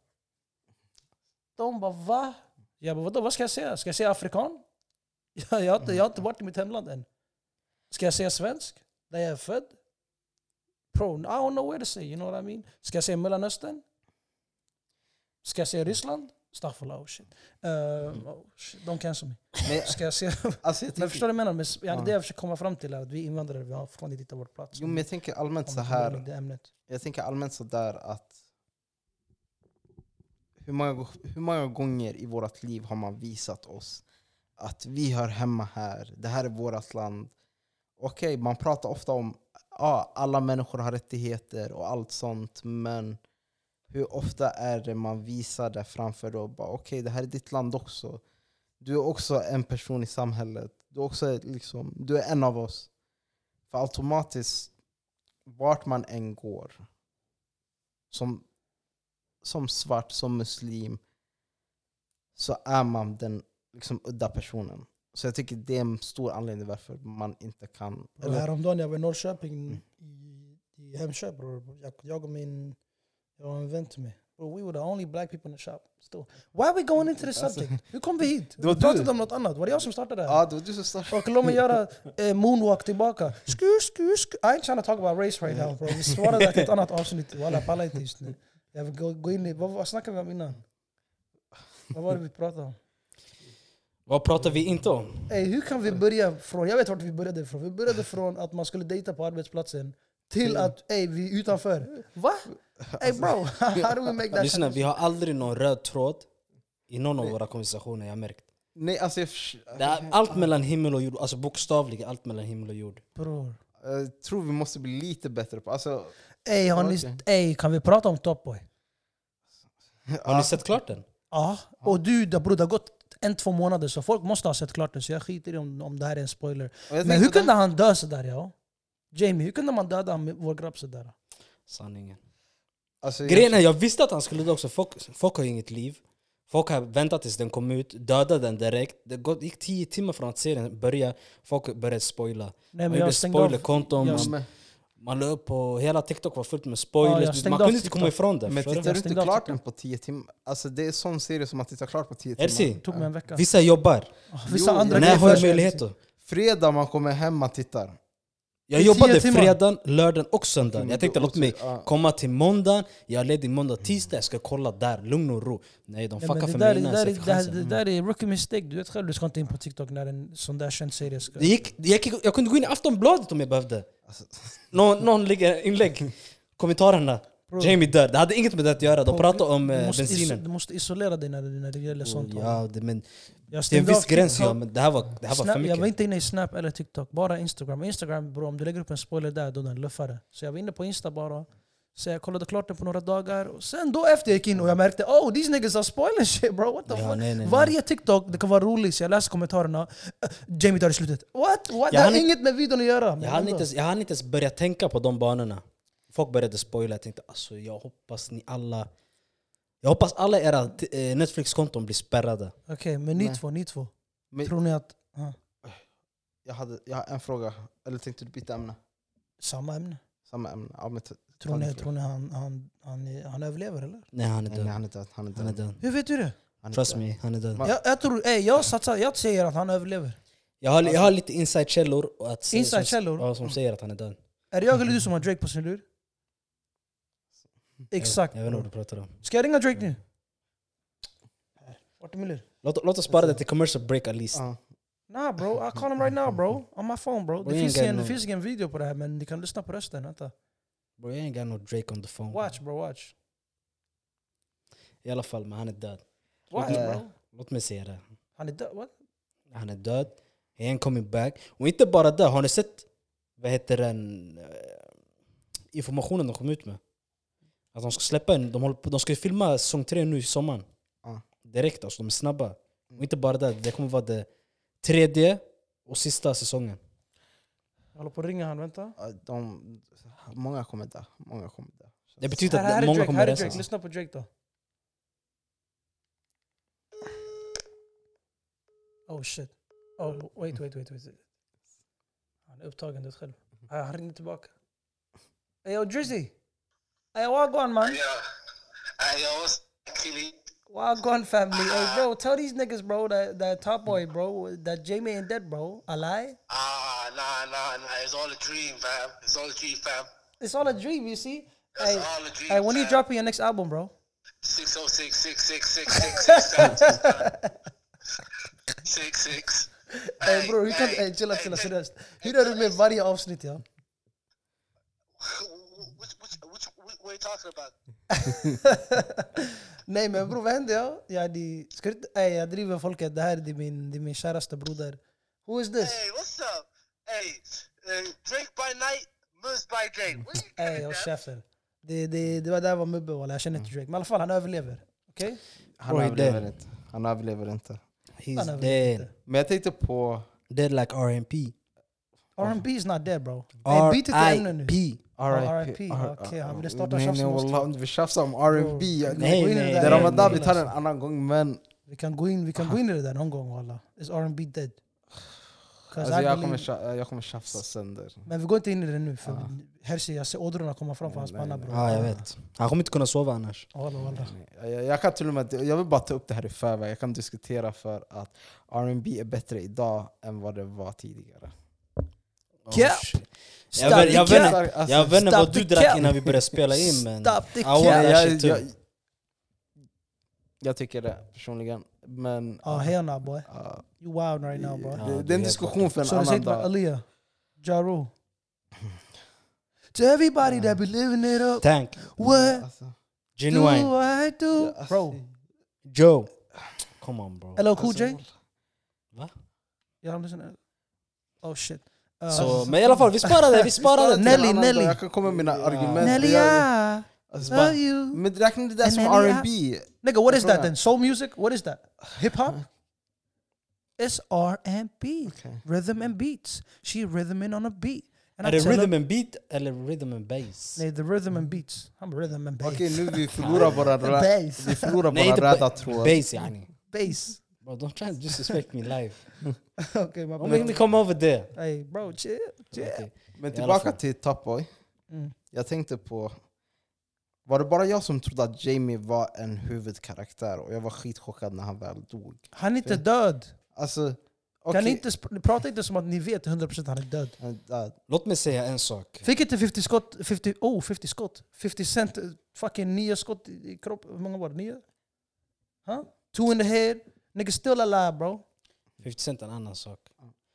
C: De bara, va? Jag bara, vadå, vad ska jag säga? Ska jag säga afrikan? Jag, jag, har inte, jag har inte varit i mitt hemland än. Ska jag säga svensk? Där jag är född? Bro, I don't know where to say, you know what I mean? Ska jag säga Mellanöstern? Ska jag säga Ryssland? Staffala, oh shit. Eh, oh shit. De cancel me.
B: Men,
C: Ska jag säga...
B: alltså, jag
C: Men
B: tänker,
C: förstår du vad jag menar? Men s- ja, det är
B: Ja.
C: det jag försöker komma fram till, är att vi invandrare vi har fortfarande inte hittat vår plats.
B: jo, men jag tänker allmänt
C: Om
B: så
C: vi börjar
B: här.
C: med det ämnet.
B: Jag tänker allmänt så där att hur många, hur många gånger i vårt liv har man visat oss att vi hör hemma här, det här är vårt land. Okej, man pratar ofta om ja, alla människor har rättigheter och allt sånt, men hur ofta är det man visar det framför då? bara, Okej, det här är ditt land också. Du är också en person i samhället. Du är, också liksom, du är en av oss. För automatiskt, vart man än går, som, som svart, som muslim, så är man den liksom, udda personen. Så jag tycker det är en stor anledning varför man inte kan...
C: Och
B: eller-
C: Häromdagen när jag var i Norrköping
B: Mm.
C: i, i Hemköp, bror. jag, jag och min jag har en vän till mig. Bro, we were the only black people in the shop. Still. Why are we going into this
B: Alltså-
C: subject? Hur kom vi hit?
B: Det var
C: Vi pratade
B: du.
C: om något annat. Var det jag som startade det här?
B: Ja, det var du som startade.
C: Och låt mig göra eh, moonwalk tillbaka. Skur, skur, skur. I ain't trying to talk about race right now bro. Vi svarade att ett annat avsnitt. Walla, jag pallar inte just nu. Jag vill gå, gå in i, vad, vad snackade vi om innan? Vad var det vi pratade om?
A: Vad pratar vi inte om?
C: Ey, hur kan vi börja från, jag vet vart vi började ifrån. Vi började från att man skulle dejta på arbetsplatsen till att ey, vi är utanför. Va? Ey bro, how do we make that
A: Lyssna, vi har aldrig någon röd tråd i någon av våra konversationer, jag har märkt.
B: Nej, alltså jag, förs-
A: Det är allt mellan himmel och jord, alltså bokstavligen allt mellan himmel och jord.
C: Bror.
B: jag tror vi måste bli lite bättre på... Alltså,
C: Ey, har ni, ey, kan vi prata om Top Boy?
A: Har ni sett klart den?
C: Ja, och du det- bror, det har gått en, två månader så folk måste ha sett klart den. Så jag skiter i om, om det här är en spoiler.
B: och jag
C: Men hur
B: tänkte-
C: kunde han dö sådär ja? Jamie, hur kunde man döda han- vår grabb sådär?
A: Sanningen.
B: alltså, jag-
A: Grejen är, jag visste att han skulle dö också. Folk, folk har inget liv. Folk har väntat tills den kom ut, dödade den direkt. Det gått- gick tio timmar från att serien började, folk började spoila.
C: Nej
A: Man gjorde spoilerkonton,
C: jag-
A: man,
B: Men,
A: man la upp på... Hela TikTok var fullt med
C: Ja, jag
A: spoilers.
C: stängde
A: man
C: av
A: kunde inte komma
C: TikTok.
A: ifrån det.
B: men
A: förstår du?
B: tittar du
C: stängde
B: inte
C: av
B: klart
C: TikTok.
B: den på tio timmar? Alltså, det är sån serie som man tittar klart på tio
A: Elsie,
B: timmar.
C: Det tog mig en vecka. Ah,
A: vissa jobbar.
C: Vissa
B: Jo,
C: andra
A: När har jag
C: grejer-
A: möjlighet då?
B: Fredag man kommer hem, man tittar.
A: Jag
C: I
A: jobbade
C: tio timmar.
A: fredagen, lördagen och söndagen.
B: Men
A: Jag tänkte
B: då-
A: låt mig
B: ja.
A: komma till måndagen, jag är ledig måndag, tisdag, jag ska kolla där, lugn och ro. Nej de
C: Nej, men
A: fuckar
C: det
A: för
C: där-
A: mig innan
C: det
A: jag
C: där-
A: fick
C: det här- Det
A: chansen.
C: där är rookie mistake. Du vet själv, du ska inte in på TikTok när en sån där känd serie ska...
A: Det gick, det gick, jag kunde gå in i Aftonbladet om jag behövde.
B: Alltså,
A: Någon, någon lägger inlägg, kommentarerna. Jamie dör. Det hade inget med det att göra, de pratade om
C: Du
A: eh,
C: måste, iso-
A: bensinen. Oh,
C: du måste isolera dig när, det- när det gäller sånt.
A: Ja, det, men,
C: Jag
A: till en
C: stängde av
A: viss gräns
C: TikTok.
A: ja, men det här var, det här var
C: Snap,
A: för
C: jag var
A: mycket.
C: inte inne i Snap eller TikTok, bara Instagram. Instagram, bro, om du lägger upp en spoiler där, då den luffar det. Så jag var inne på Insta bara. Så jag kollade klart den på några dagar. Och sen då efter jag gick in och jag märkte oh these niggas are spoiling shit bro. What the
A: Ja,
C: fuck?
A: nej, nej, nej.
C: Varje TikTok, det kan vara roligt, så jag läser kommentarerna. "Eh, Jamie dör i slutet. What? What? Det
A: Jag
C: har
A: hann inte-
C: inget med videon att göra. men
A: Jag hann,
C: ändå.
A: inte, ens- jag hann inte ens börja tänka på de banorna. Folk började spoila, jag tänkte alltså jag hoppas ni alla... Jag hoppas alla era t- eh, Netflix-konton blir spärrade.
C: Okej, men ni
B: Nej.
C: två, ni två.
B: Men-
C: Tror ni att... ja,
B: Jag, hade, jag har en fråga, eller tänkte du byta ämne?
C: samma ämne?
B: Samma ämne? Ja, men t-
C: Tror
B: Ta
C: ni,
B: din fråga.
C: tror ni han, han, han, han överlever eller?
A: Nej han är
B: nej, nej,
A: död.
B: han är död. Han är död.
A: Han är död.
C: Hur vet du det?
B: Han är
A: Trust
B: död.
A: me, han är död.
B: Man-
C: Jag, jag tror, ey, jag satsar, jag säger att han överlever.
A: Jag har, jag har lite inside-källor att se-
C: Inside-källor?
A: Som, ja, som säger att han är död.
C: Är det jag eller du som har Drake på sin lur? Exakt.
A: Mm. Jag, jag vet inte
C: bror.
A: vad du pratar om.
C: Ska jag ringa Drake nu? Vart är min lur?
A: Låt, låt oss spara det till commercial break at least.
B: Ja.
C: Nah bro, I call him right now bro. On my phone bro. Det
A: Bring
C: finns,
A: in
C: ingen, det
A: nu.
C: finns ingen video på det här men ni kan lyssna på rösten. Vänta.
A: Bro, jag ain't got no Drake on the phone.
C: Watch bro, watch.
A: I alla fall, men han är död.
C: Watch
B: Eh.
C: bro.
A: Låt mig säga det.
C: Han är död, what?
A: Han är död. He ain't coming back. Och inte bara det, har ni sett vad heter den eh, informationen de kom ut med? Att de ska släppa en, de, håller, på- de ska filma säsong tre nu i sommaren.
B: Ja.
A: Direkt alltså, de är snabba. Och inte bara det, det kommer vara det tredje och sista säsongen.
C: Jag håller på att ringa han, vänta.
B: Ja, De, många kommer dö. Många kommer dö.
A: Det betyder
C: Här, här
A: att
C: är
A: många
C: Drake,
A: kommer
C: här är Drake.
A: resa.
C: Lyssna på Drake då. Oh shit. Oh, wait, wait, wait, wait. Han är upptagen, du vet själv. Ah, Han ringer tillbaka. Ey yo Drizzy! Ey wagwan man!
D: Yeah. I was actually
C: Wagwan family! Ey
D: Ah.
C: bro, tell these niggas bro that, that top boy bro, that Jamie ain't dead bro. A lie?
D: ah nah nah nah. It's all a dream, fam. It's all a dream, fam.
C: It's all a dream you see?
D: It's
C: Ey,
D: all a dream.
C: ey when you
D: fam.
C: dropping your next album bro?
D: six oh six six six six six six seven six, fam. six six.
C: Ey bror, hur kan... Ey chilla chilla seriöst. Hur är du med varje avsnitt ja?
D: Which, which, which, which, what are you talking about?
C: Nej men bror vad hände jag? Jag, de, ska du, inte- nej, jag driver folket, det här det är min, det är min käraste broder. Who is this?
D: Hey, what's up? Hey, uh, Drake by night, Moose by day. What are you doing,
C: Ey håll
D: fam?
C: käften. Det, det, det var där var Mubbe walla, jag känner inte
B: Mm.
C: Drake. Men i alla fall han överlever. Okej?
B: Han
A: Oj,
B: överlever
A: den.
B: inte. Han överlever inte.
C: Han
A: He's
C: överlever
A: dead.
C: inte.
B: Men jag tänkte på
A: Dead like R&P.
C: R&B is not dead bro. Ey byt till ämne nu.
A: R.I.P.
C: R.I.P., okej, han ville starta
B: Nej,
C: tjafs
B: nej,
C: med oss
B: wallah, vi tjafsar om R&B.
C: Bro,
B: Jag-
C: vi kan gå in
A: nej,
C: i det
B: Det
C: där.
B: är Ramadan, vi
A: nej.
B: tar en annan gång men
C: Vi kan gå in, vi kan gå in i det där någon gång walla. Is R&B dead? 'Cause
B: alltså,
C: I
B: jag,
C: believe-
B: kommer, Ah. tja- jag kommer tjafsa sönder.
C: men vi går inte in i det nu för Herzi, jag ser ådrorna komma fram på hans panna bror.
A: Ja, jag vet. Han kommer inte kunna sova annars.
C: Walla walla.
B: Jag, jag kan till och med, jag vill bara ta upp det här i förväg. Jag kan diskutera för att R&B är bättre idag än vad det var tidigare.
A: Oh,
C: Cap.
A: shit.
C: Stop
A: Jag vet- jag
C: the
A: vet
C: cap!
A: inte-
B: alltså-
A: jag vet inte
C: Stop
A: vad du
C: the
A: drack
C: cap.
A: innan vi började spela in men...
C: Stop the
A: I
C: cap.
A: want
B: jag,
A: that
B: jag,
A: shit too.
B: jag, jag tycker det personligen. Men,
C: Ja, Oh, hell nah boy.
B: ja,
C: You wild right now bro.
A: Ja,
B: det,
A: det är
B: det är en
A: helt
B: diskussion för en
C: So does
B: annan
C: it about
B: dag.
C: Aaliyah, Ja Rule. To everybody that be living it up,
A: Tank,
C: what
B: Alltså,
C: do
A: Genuine,
C: I do?
B: alltså,
C: Bro,
A: Joe. Come on bro.
C: LL Cool J?
A: Va?
C: Y'all listen Oh shit. Uh,
A: Så, men i alla fall, vi sparar det, vi sparar det.
B: till en
C: Nelly,
B: annan dag.
C: Nelly.
B: Jag kan komma med mina
A: Ja.
B: argument.
C: Nelly,
B: Jag-
C: I
B: alltså,
C: love you.
B: Men räkna det där
C: And
B: som
C: Nelly,
B: R&B
C: Nigga, what is
B: Bro.
C: that then? Soul music? What is that? Hip hop? It's R and B,
B: Okay.
C: rhythm and beats. She rhythming on a beat. And
A: Är
C: I
A: det
C: tell her-
A: rhythm and beat eller rhythm and bass?
C: Nej, the rhythm and beats. I'm rhythm and bass.
B: Okej, nu vi förlorar våra, rä-
C: Bass.
B: vi förlorar
A: Nej,
B: våra
A: inte
B: röda
A: ba-
B: tråd.
A: bass yani.
C: Bass.
A: Bro don't try to disrespect me live.
C: okay, my
A: Don't make me
C: bad.
A: come over there.
C: Hey, bro, chill, chill.
A: Okej. I
B: Men
A: alla
B: tillbaka
A: fall.
B: till Top Boy.
C: Mm.
B: Jag tänkte på... Var det bara jag som trodde att Jamie var en huvudkaraktär och jag var skitchockad när han väl dog?
C: Han är inte
B: Fint.
C: död.
B: Alltså,
C: Kan ni
B: okej. Eh,
C: inte sp- prata inte som att ni vet 100% han är död.
B: Han dör.
A: Låt mig säga en sak.
C: Fick inte 50 skott, 50, oh 50 skott, 50 cent, eh, fucking nio skott i i kroppen. Hur många var det? Nio? Huh? Two in the head. Nigga still alive bro.
A: 50 Cent är en annan sak.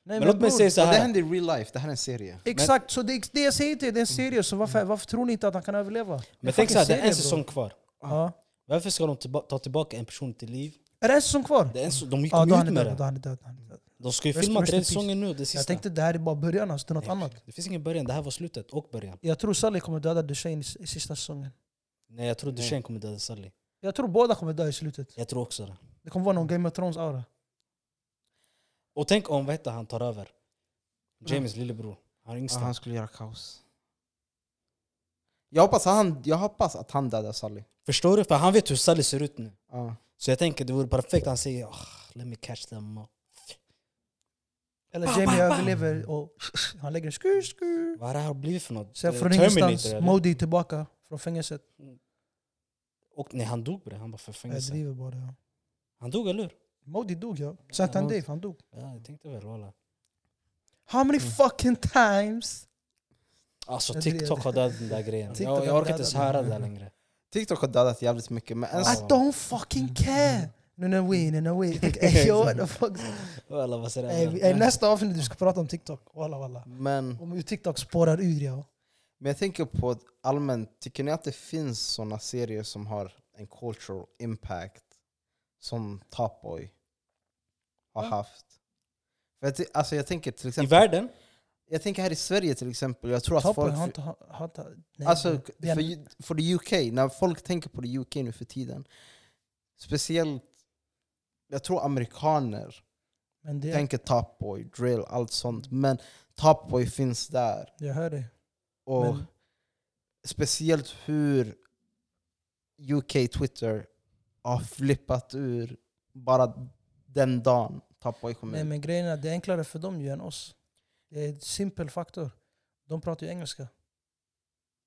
C: Nej,
A: Men låt mig
C: bror,
A: säga så
B: Och det
A: här.
B: hände i real life, det här är en serie.
C: Exakt, så det, det jag säger till er, det är en serie, så varför, varför tror ni inte att han kan överleva? Det
A: Mm.
C: är
A: Men
C: fucking
A: tänk såhär, det är
C: serie,
A: en
C: bro.
A: säsong kvar.
C: Ja.
A: Varför ska de tillba- ta tillbaka en person till liv?
C: Är det en säsong kvar?
A: Det är en, s- de gick
C: Ja, då är
A: ut
C: han är
A: med
C: död. Då
A: det.
C: är han är död. då är han är död.
A: De ska ju
C: Rest-
A: filma
C: rest in
A: tredje
C: peace.
A: säsongen nu, det
C: Jag
A: sista.
C: tänkte det här är bara början, alltså, det är något annat.
A: Det finns ingen början, det här var slutet och början.
C: Jag tror Sally kommer döda Duchene i, i sista säsongen.
A: Nej jag tror
B: Nej.
A: Duchenne kommer döda Sally.
C: Jag tror båda kommer dö i slutet.
A: Jag tror också det.
C: Det kommer vara någon Game of Thrones-aura.
A: Och tänk om vad heter han tar över?
C: Mm.
A: James lillebror. Han är
B: Ja,
A: yngsta.
B: han skulle göra kaos. Jag hoppas, att han, jag hoppas att han dödar Sally.
A: Förstår du? För han vet hur Sally ser ut nu.
B: Ja.
A: Så jag tänker det vore perfekt. Han säger oh, let me catch them. all."
C: Eller Jamie överlever och han lägger skur, skur.
A: Vad har det här blivit för något?
C: Sen
A: Eh,
C: från ingenstans,
A: eller?
C: Modi är tillbaka från fängelset.
A: Och, nej han dog bre. Han var för
C: Jag
A: fängelse.
C: driver bara. Ja.
A: Han dog eller hur?
C: Modi dog ja. Satan
B: Modi.
C: Dave, han dog.
A: Ja, jag tänkte väl walla.
C: How
A: Mm.
C: many fucking times?
A: Alltså
C: Jag driver.
A: TikTok har dödat den där grejen.
C: TikTok
A: Jag, jag
C: har
A: orkar inte ens
C: dödat
A: höra det där längre.
B: TikTok har dödat jävligt mycket, men ens,
A: Ja.
C: I don't fucking care! No no way, no no way. Ey, yo, what the fuck?
A: Walla vad säger
C: Ey,
A: jag?
C: vi- ey, nästa avsnitt vi ska prata om TikTok. Walla walla.
B: men,
C: Om hur TikTok spårar ur ja.
B: men jag tänker på att allmänt, tycker ni att det finns såna serier som har en cultural impact som Top Boy har
C: Ja.
B: haft? För jag, ty- alltså jag tänker till
A: I
B: exempel,
A: världen?
B: jag tänker här i Sverige till exempel, jag tror att
C: Toppen
B: folk...
C: har inte ha- hatat... nej,
B: Alltså,
C: nej. Det är-
B: för, för the UK, när folk tänker på the UK nu för tiden, speciellt, jag tror amerikaner
C: Men det,
B: tänker Top Boy, drill, allt sånt, men Top Boy finns där.
C: jag hör dig.
B: Och
C: Men-
B: speciellt hur UK Twitter har flippat ur bara den dagen Top Boy kom
C: Nej
B: ut.
C: men grejen är att det är enklare för dem ju än oss. Det är en simpel faktor. De pratar ju engelska.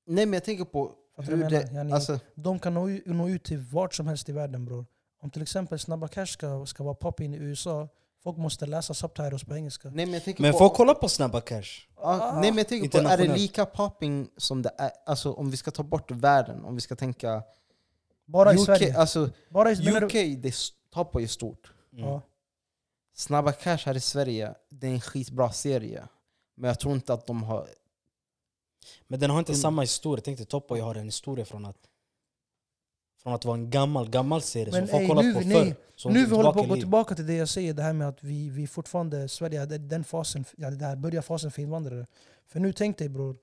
B: Nej men jag tänker på
C: Fattar du
B: hur
C: vad jag menar?
B: det...
C: Yani,
B: Alltså,
C: De kan nå, u- nå ut till vart som helst i världen bror. Om till exempel Snabba Cash ska, ska vara poppin i USA, folk måste läsa subtitles på engelska.
B: nej men jag tänker
A: Men
B: på...
A: folk kollar på Snabba Cash.
B: Ja, nej men jag tänker på, är det
A: Internationellt.
B: lika popping som det är, alltså om vi ska ta bort världen, om vi ska tänka...
C: Bara i
B: UK,
C: Sverige.
B: alltså,
C: Bara i, menar du-
B: UK det s- Top Boy är stort.
A: Mm.
C: Ja.
B: Snabba Cash här i Sverige, det är en skitbra serie. Men jag tror inte att de har...
A: Men den har inte
B: Mm.
A: samma historia. Tänk dig Top Boy har en historia från att från att vara en gammal, gammal serie
C: Men
A: som folk
C: ey,
A: kollade
C: nu-
A: på
C: nej.
A: förr. som
C: Nu vi håller på
A: tillbaka
C: att gå
A: i livet.
C: tillbaka till det jag säger, det här med att vi, vi fortfarande, Sverige, det- den fasen, ja, det här börjarfasen för invandrare. För nu tänk dig bror,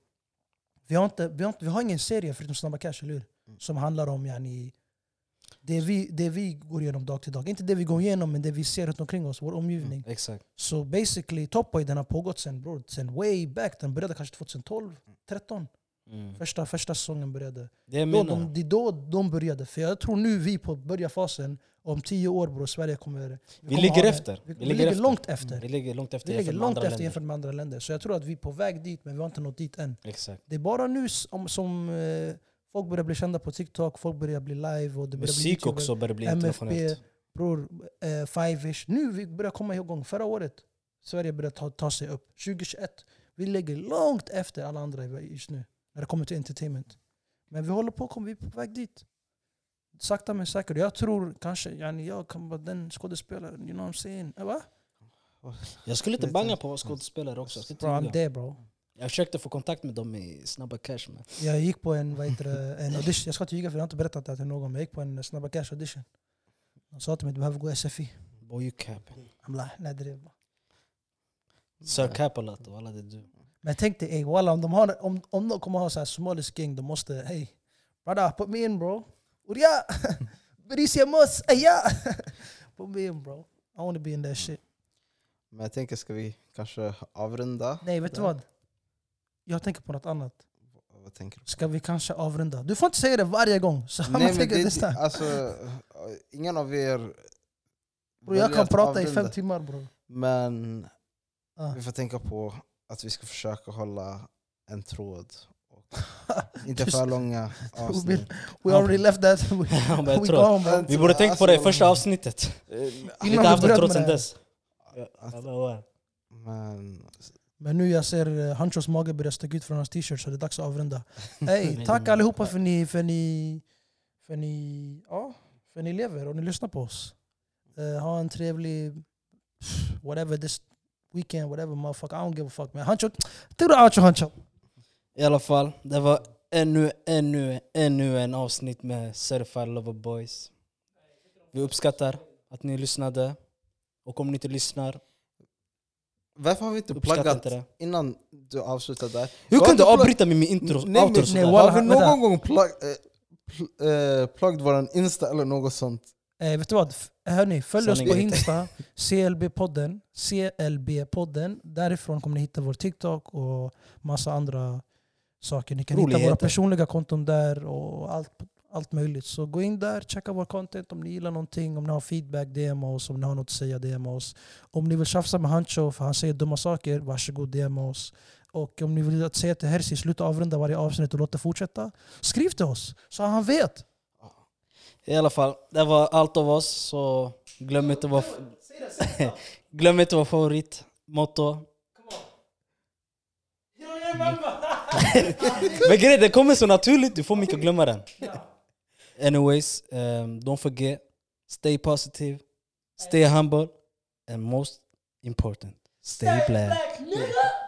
C: vi har, inte, vi har, inte, vi har ingen serie förutom Snabba Cash, eller hur?
A: Mm.
C: Som handlar om yani, det, vi, det vi går igenom dag till dag. Inte det vi går igenom, men det vi ser runt omkring oss, vår omgivning.
A: Exakt.
C: Så basically, Top Boy den har pågått sen, bror, sen way back. Den började kanske 2012, 13
A: Mm.
C: Första, första säsongen började.
A: Det jag
C: Då,
A: menar.
C: de, det är då de började. För jag tror nu vi på börjarfasen, om tio år bror, Sverige kommer... Vi,
A: vi
C: kommer
A: ligger
C: ha det.
A: efter.
C: Vi, vi ligger långt efter.
A: Vi Mm, ligger långt efter
C: Vi ligger
A: jämfört med
C: långt
A: andra
C: efter
A: länder.
C: jämfört med andra länder. Så jag tror att vi är på väg dit, men vi har inte nått dit än.
A: Exakt.
C: Det är bara nu som, som eh, folk börjar bli kända på TikTok, folk börjar bli live och det börjar bli
A: Musik
C: YouTuber.
A: också börjar bli
C: MFB.
A: internationellt.
C: Bror, eh, Five-ish. Nu vi börjar komma igång. Förra året Sverige började ta, ta sig upp. 2021. Vi ligger långt efter alla andra just nu när det kommer till entertainment. Men vi håller på, kom, vi är på väg dit. Sakta men säkert. Jag tror kanske, yani jag kan vara den skådespelaren, you know what I'm saying? Eh, Va?
A: Jag skulle inte
B: Lite-
A: banga på att vara skådespelare också. Jag,
C: Bro,
A: skulle
C: I'm
A: inte ljuga.
C: there bro.
A: jag försökte få kontakt med dem i Snabba Cash men
C: Jag gick på en, vad heter det, en audition, jag ska inte ljuga för jag har inte berättat det här till någon, men jag gick på en Snabba Cash audition. De sa till mig att du behöver gå SFI.
A: boy you cap.
C: I'm like, nej det är bara.
A: Sir Capolat och alla det du.
C: Men tänk dig, ey, walla, om, de har, om, om de kommer ha så här somalisk gäng, de måste, hey, brother, put me in bro. Urja! Berisia mus! Eja! eh, Put me in bro. I wanna be in that shit.
B: Men jag tänker, ska vi kanske avrunda?
C: Nej, vet du vad? Jag tänker på något annat.
B: Vad tänker du?
C: Ska vi kanske avrunda? Du får inte säga det varje gång. Så man
B: Nej, men
C: tänker
B: det,
C: nästa.
B: alltså, ingen av er...
C: Bro, jag
B: väljer
C: kan
B: att
C: prata i fem
B: avrunda.
C: timmar bro.
B: Men
C: Ah.
B: vi får tänka på att vi ska försöka hålla en tråd. Och inte för långa avsnitt.
C: We already left that. We,
A: Han bara,
C: we Alltså,
A: jag tror-
C: gone bro.
A: Vi borde tänkt på det i första avsnittet. Vi har
C: Innan vi
A: inte haft det
C: bröt
A: trots
C: med
A: sen
C: det.
A: dess.
B: Att- Men
C: Men nu jag ser eh, Hanchos mage börja sticka ut från hans t-shirt så det är dags att avrunda. Hey, tack allihopa för ni, för ni, för ni, ja, för ni lever och ni lyssnar på oss. Eh, ha en trevlig, pff, whatever this weekend, whatever motherfucker, I don't give a fuck man. Hancho, tura Hancho Hancho.
A: I alla fall, det var ännu, ännu, ännu en avsnitt med Certified Lover Boys. Vi uppskattar att ni lyssnade. Och om ni inte lyssnar,
B: Varför har vi inte
A: Uppskattar
B: pluggat
A: inte det.
B: innan du avslutar där?
A: Hur
B: Varför
A: kan du
B: plugg-
A: avbryta med min intro?
B: Nej, men-
A: outro
B: nej,
A: sådär?
C: walla,
B: Har vi någon
C: vänta.
B: gång plug, eh, pl, eh, plugged våran Insta eller något sånt?
C: Eh, vet du vad? F- Hörni, följ oss på
A: Sanningen.
C: Insta, CLB-podden. CLB-podden. Därifrån kommer ni hitta vår TikTok och massa andra saker. Ni kan hitta våra
A: Roligheter.
C: personliga konton där och allt, allt möjligt. Så gå in där, checka vår content om ni gillar någonting, om ni har feedback, DM oss, om ni har något att säga, DM oss. Om ni vill tjafsa med Hancho, för han säger dumma saker, varsågod DM oss. Och om ni vill att säga till Hersi, sluta avrunda varje avsnitt och låt det fortsätta. Skriv till oss, så han vet.
A: I alla fall, det var allt av oss. Så glöm inte vår, glöm inte vår favoritmotto. Men grejen är, det kommer så naturligt, du får mig inte glömma den. Anyways, um, don't forget, stay positive, stay humble, and most important, stay black.
C: Black nigga!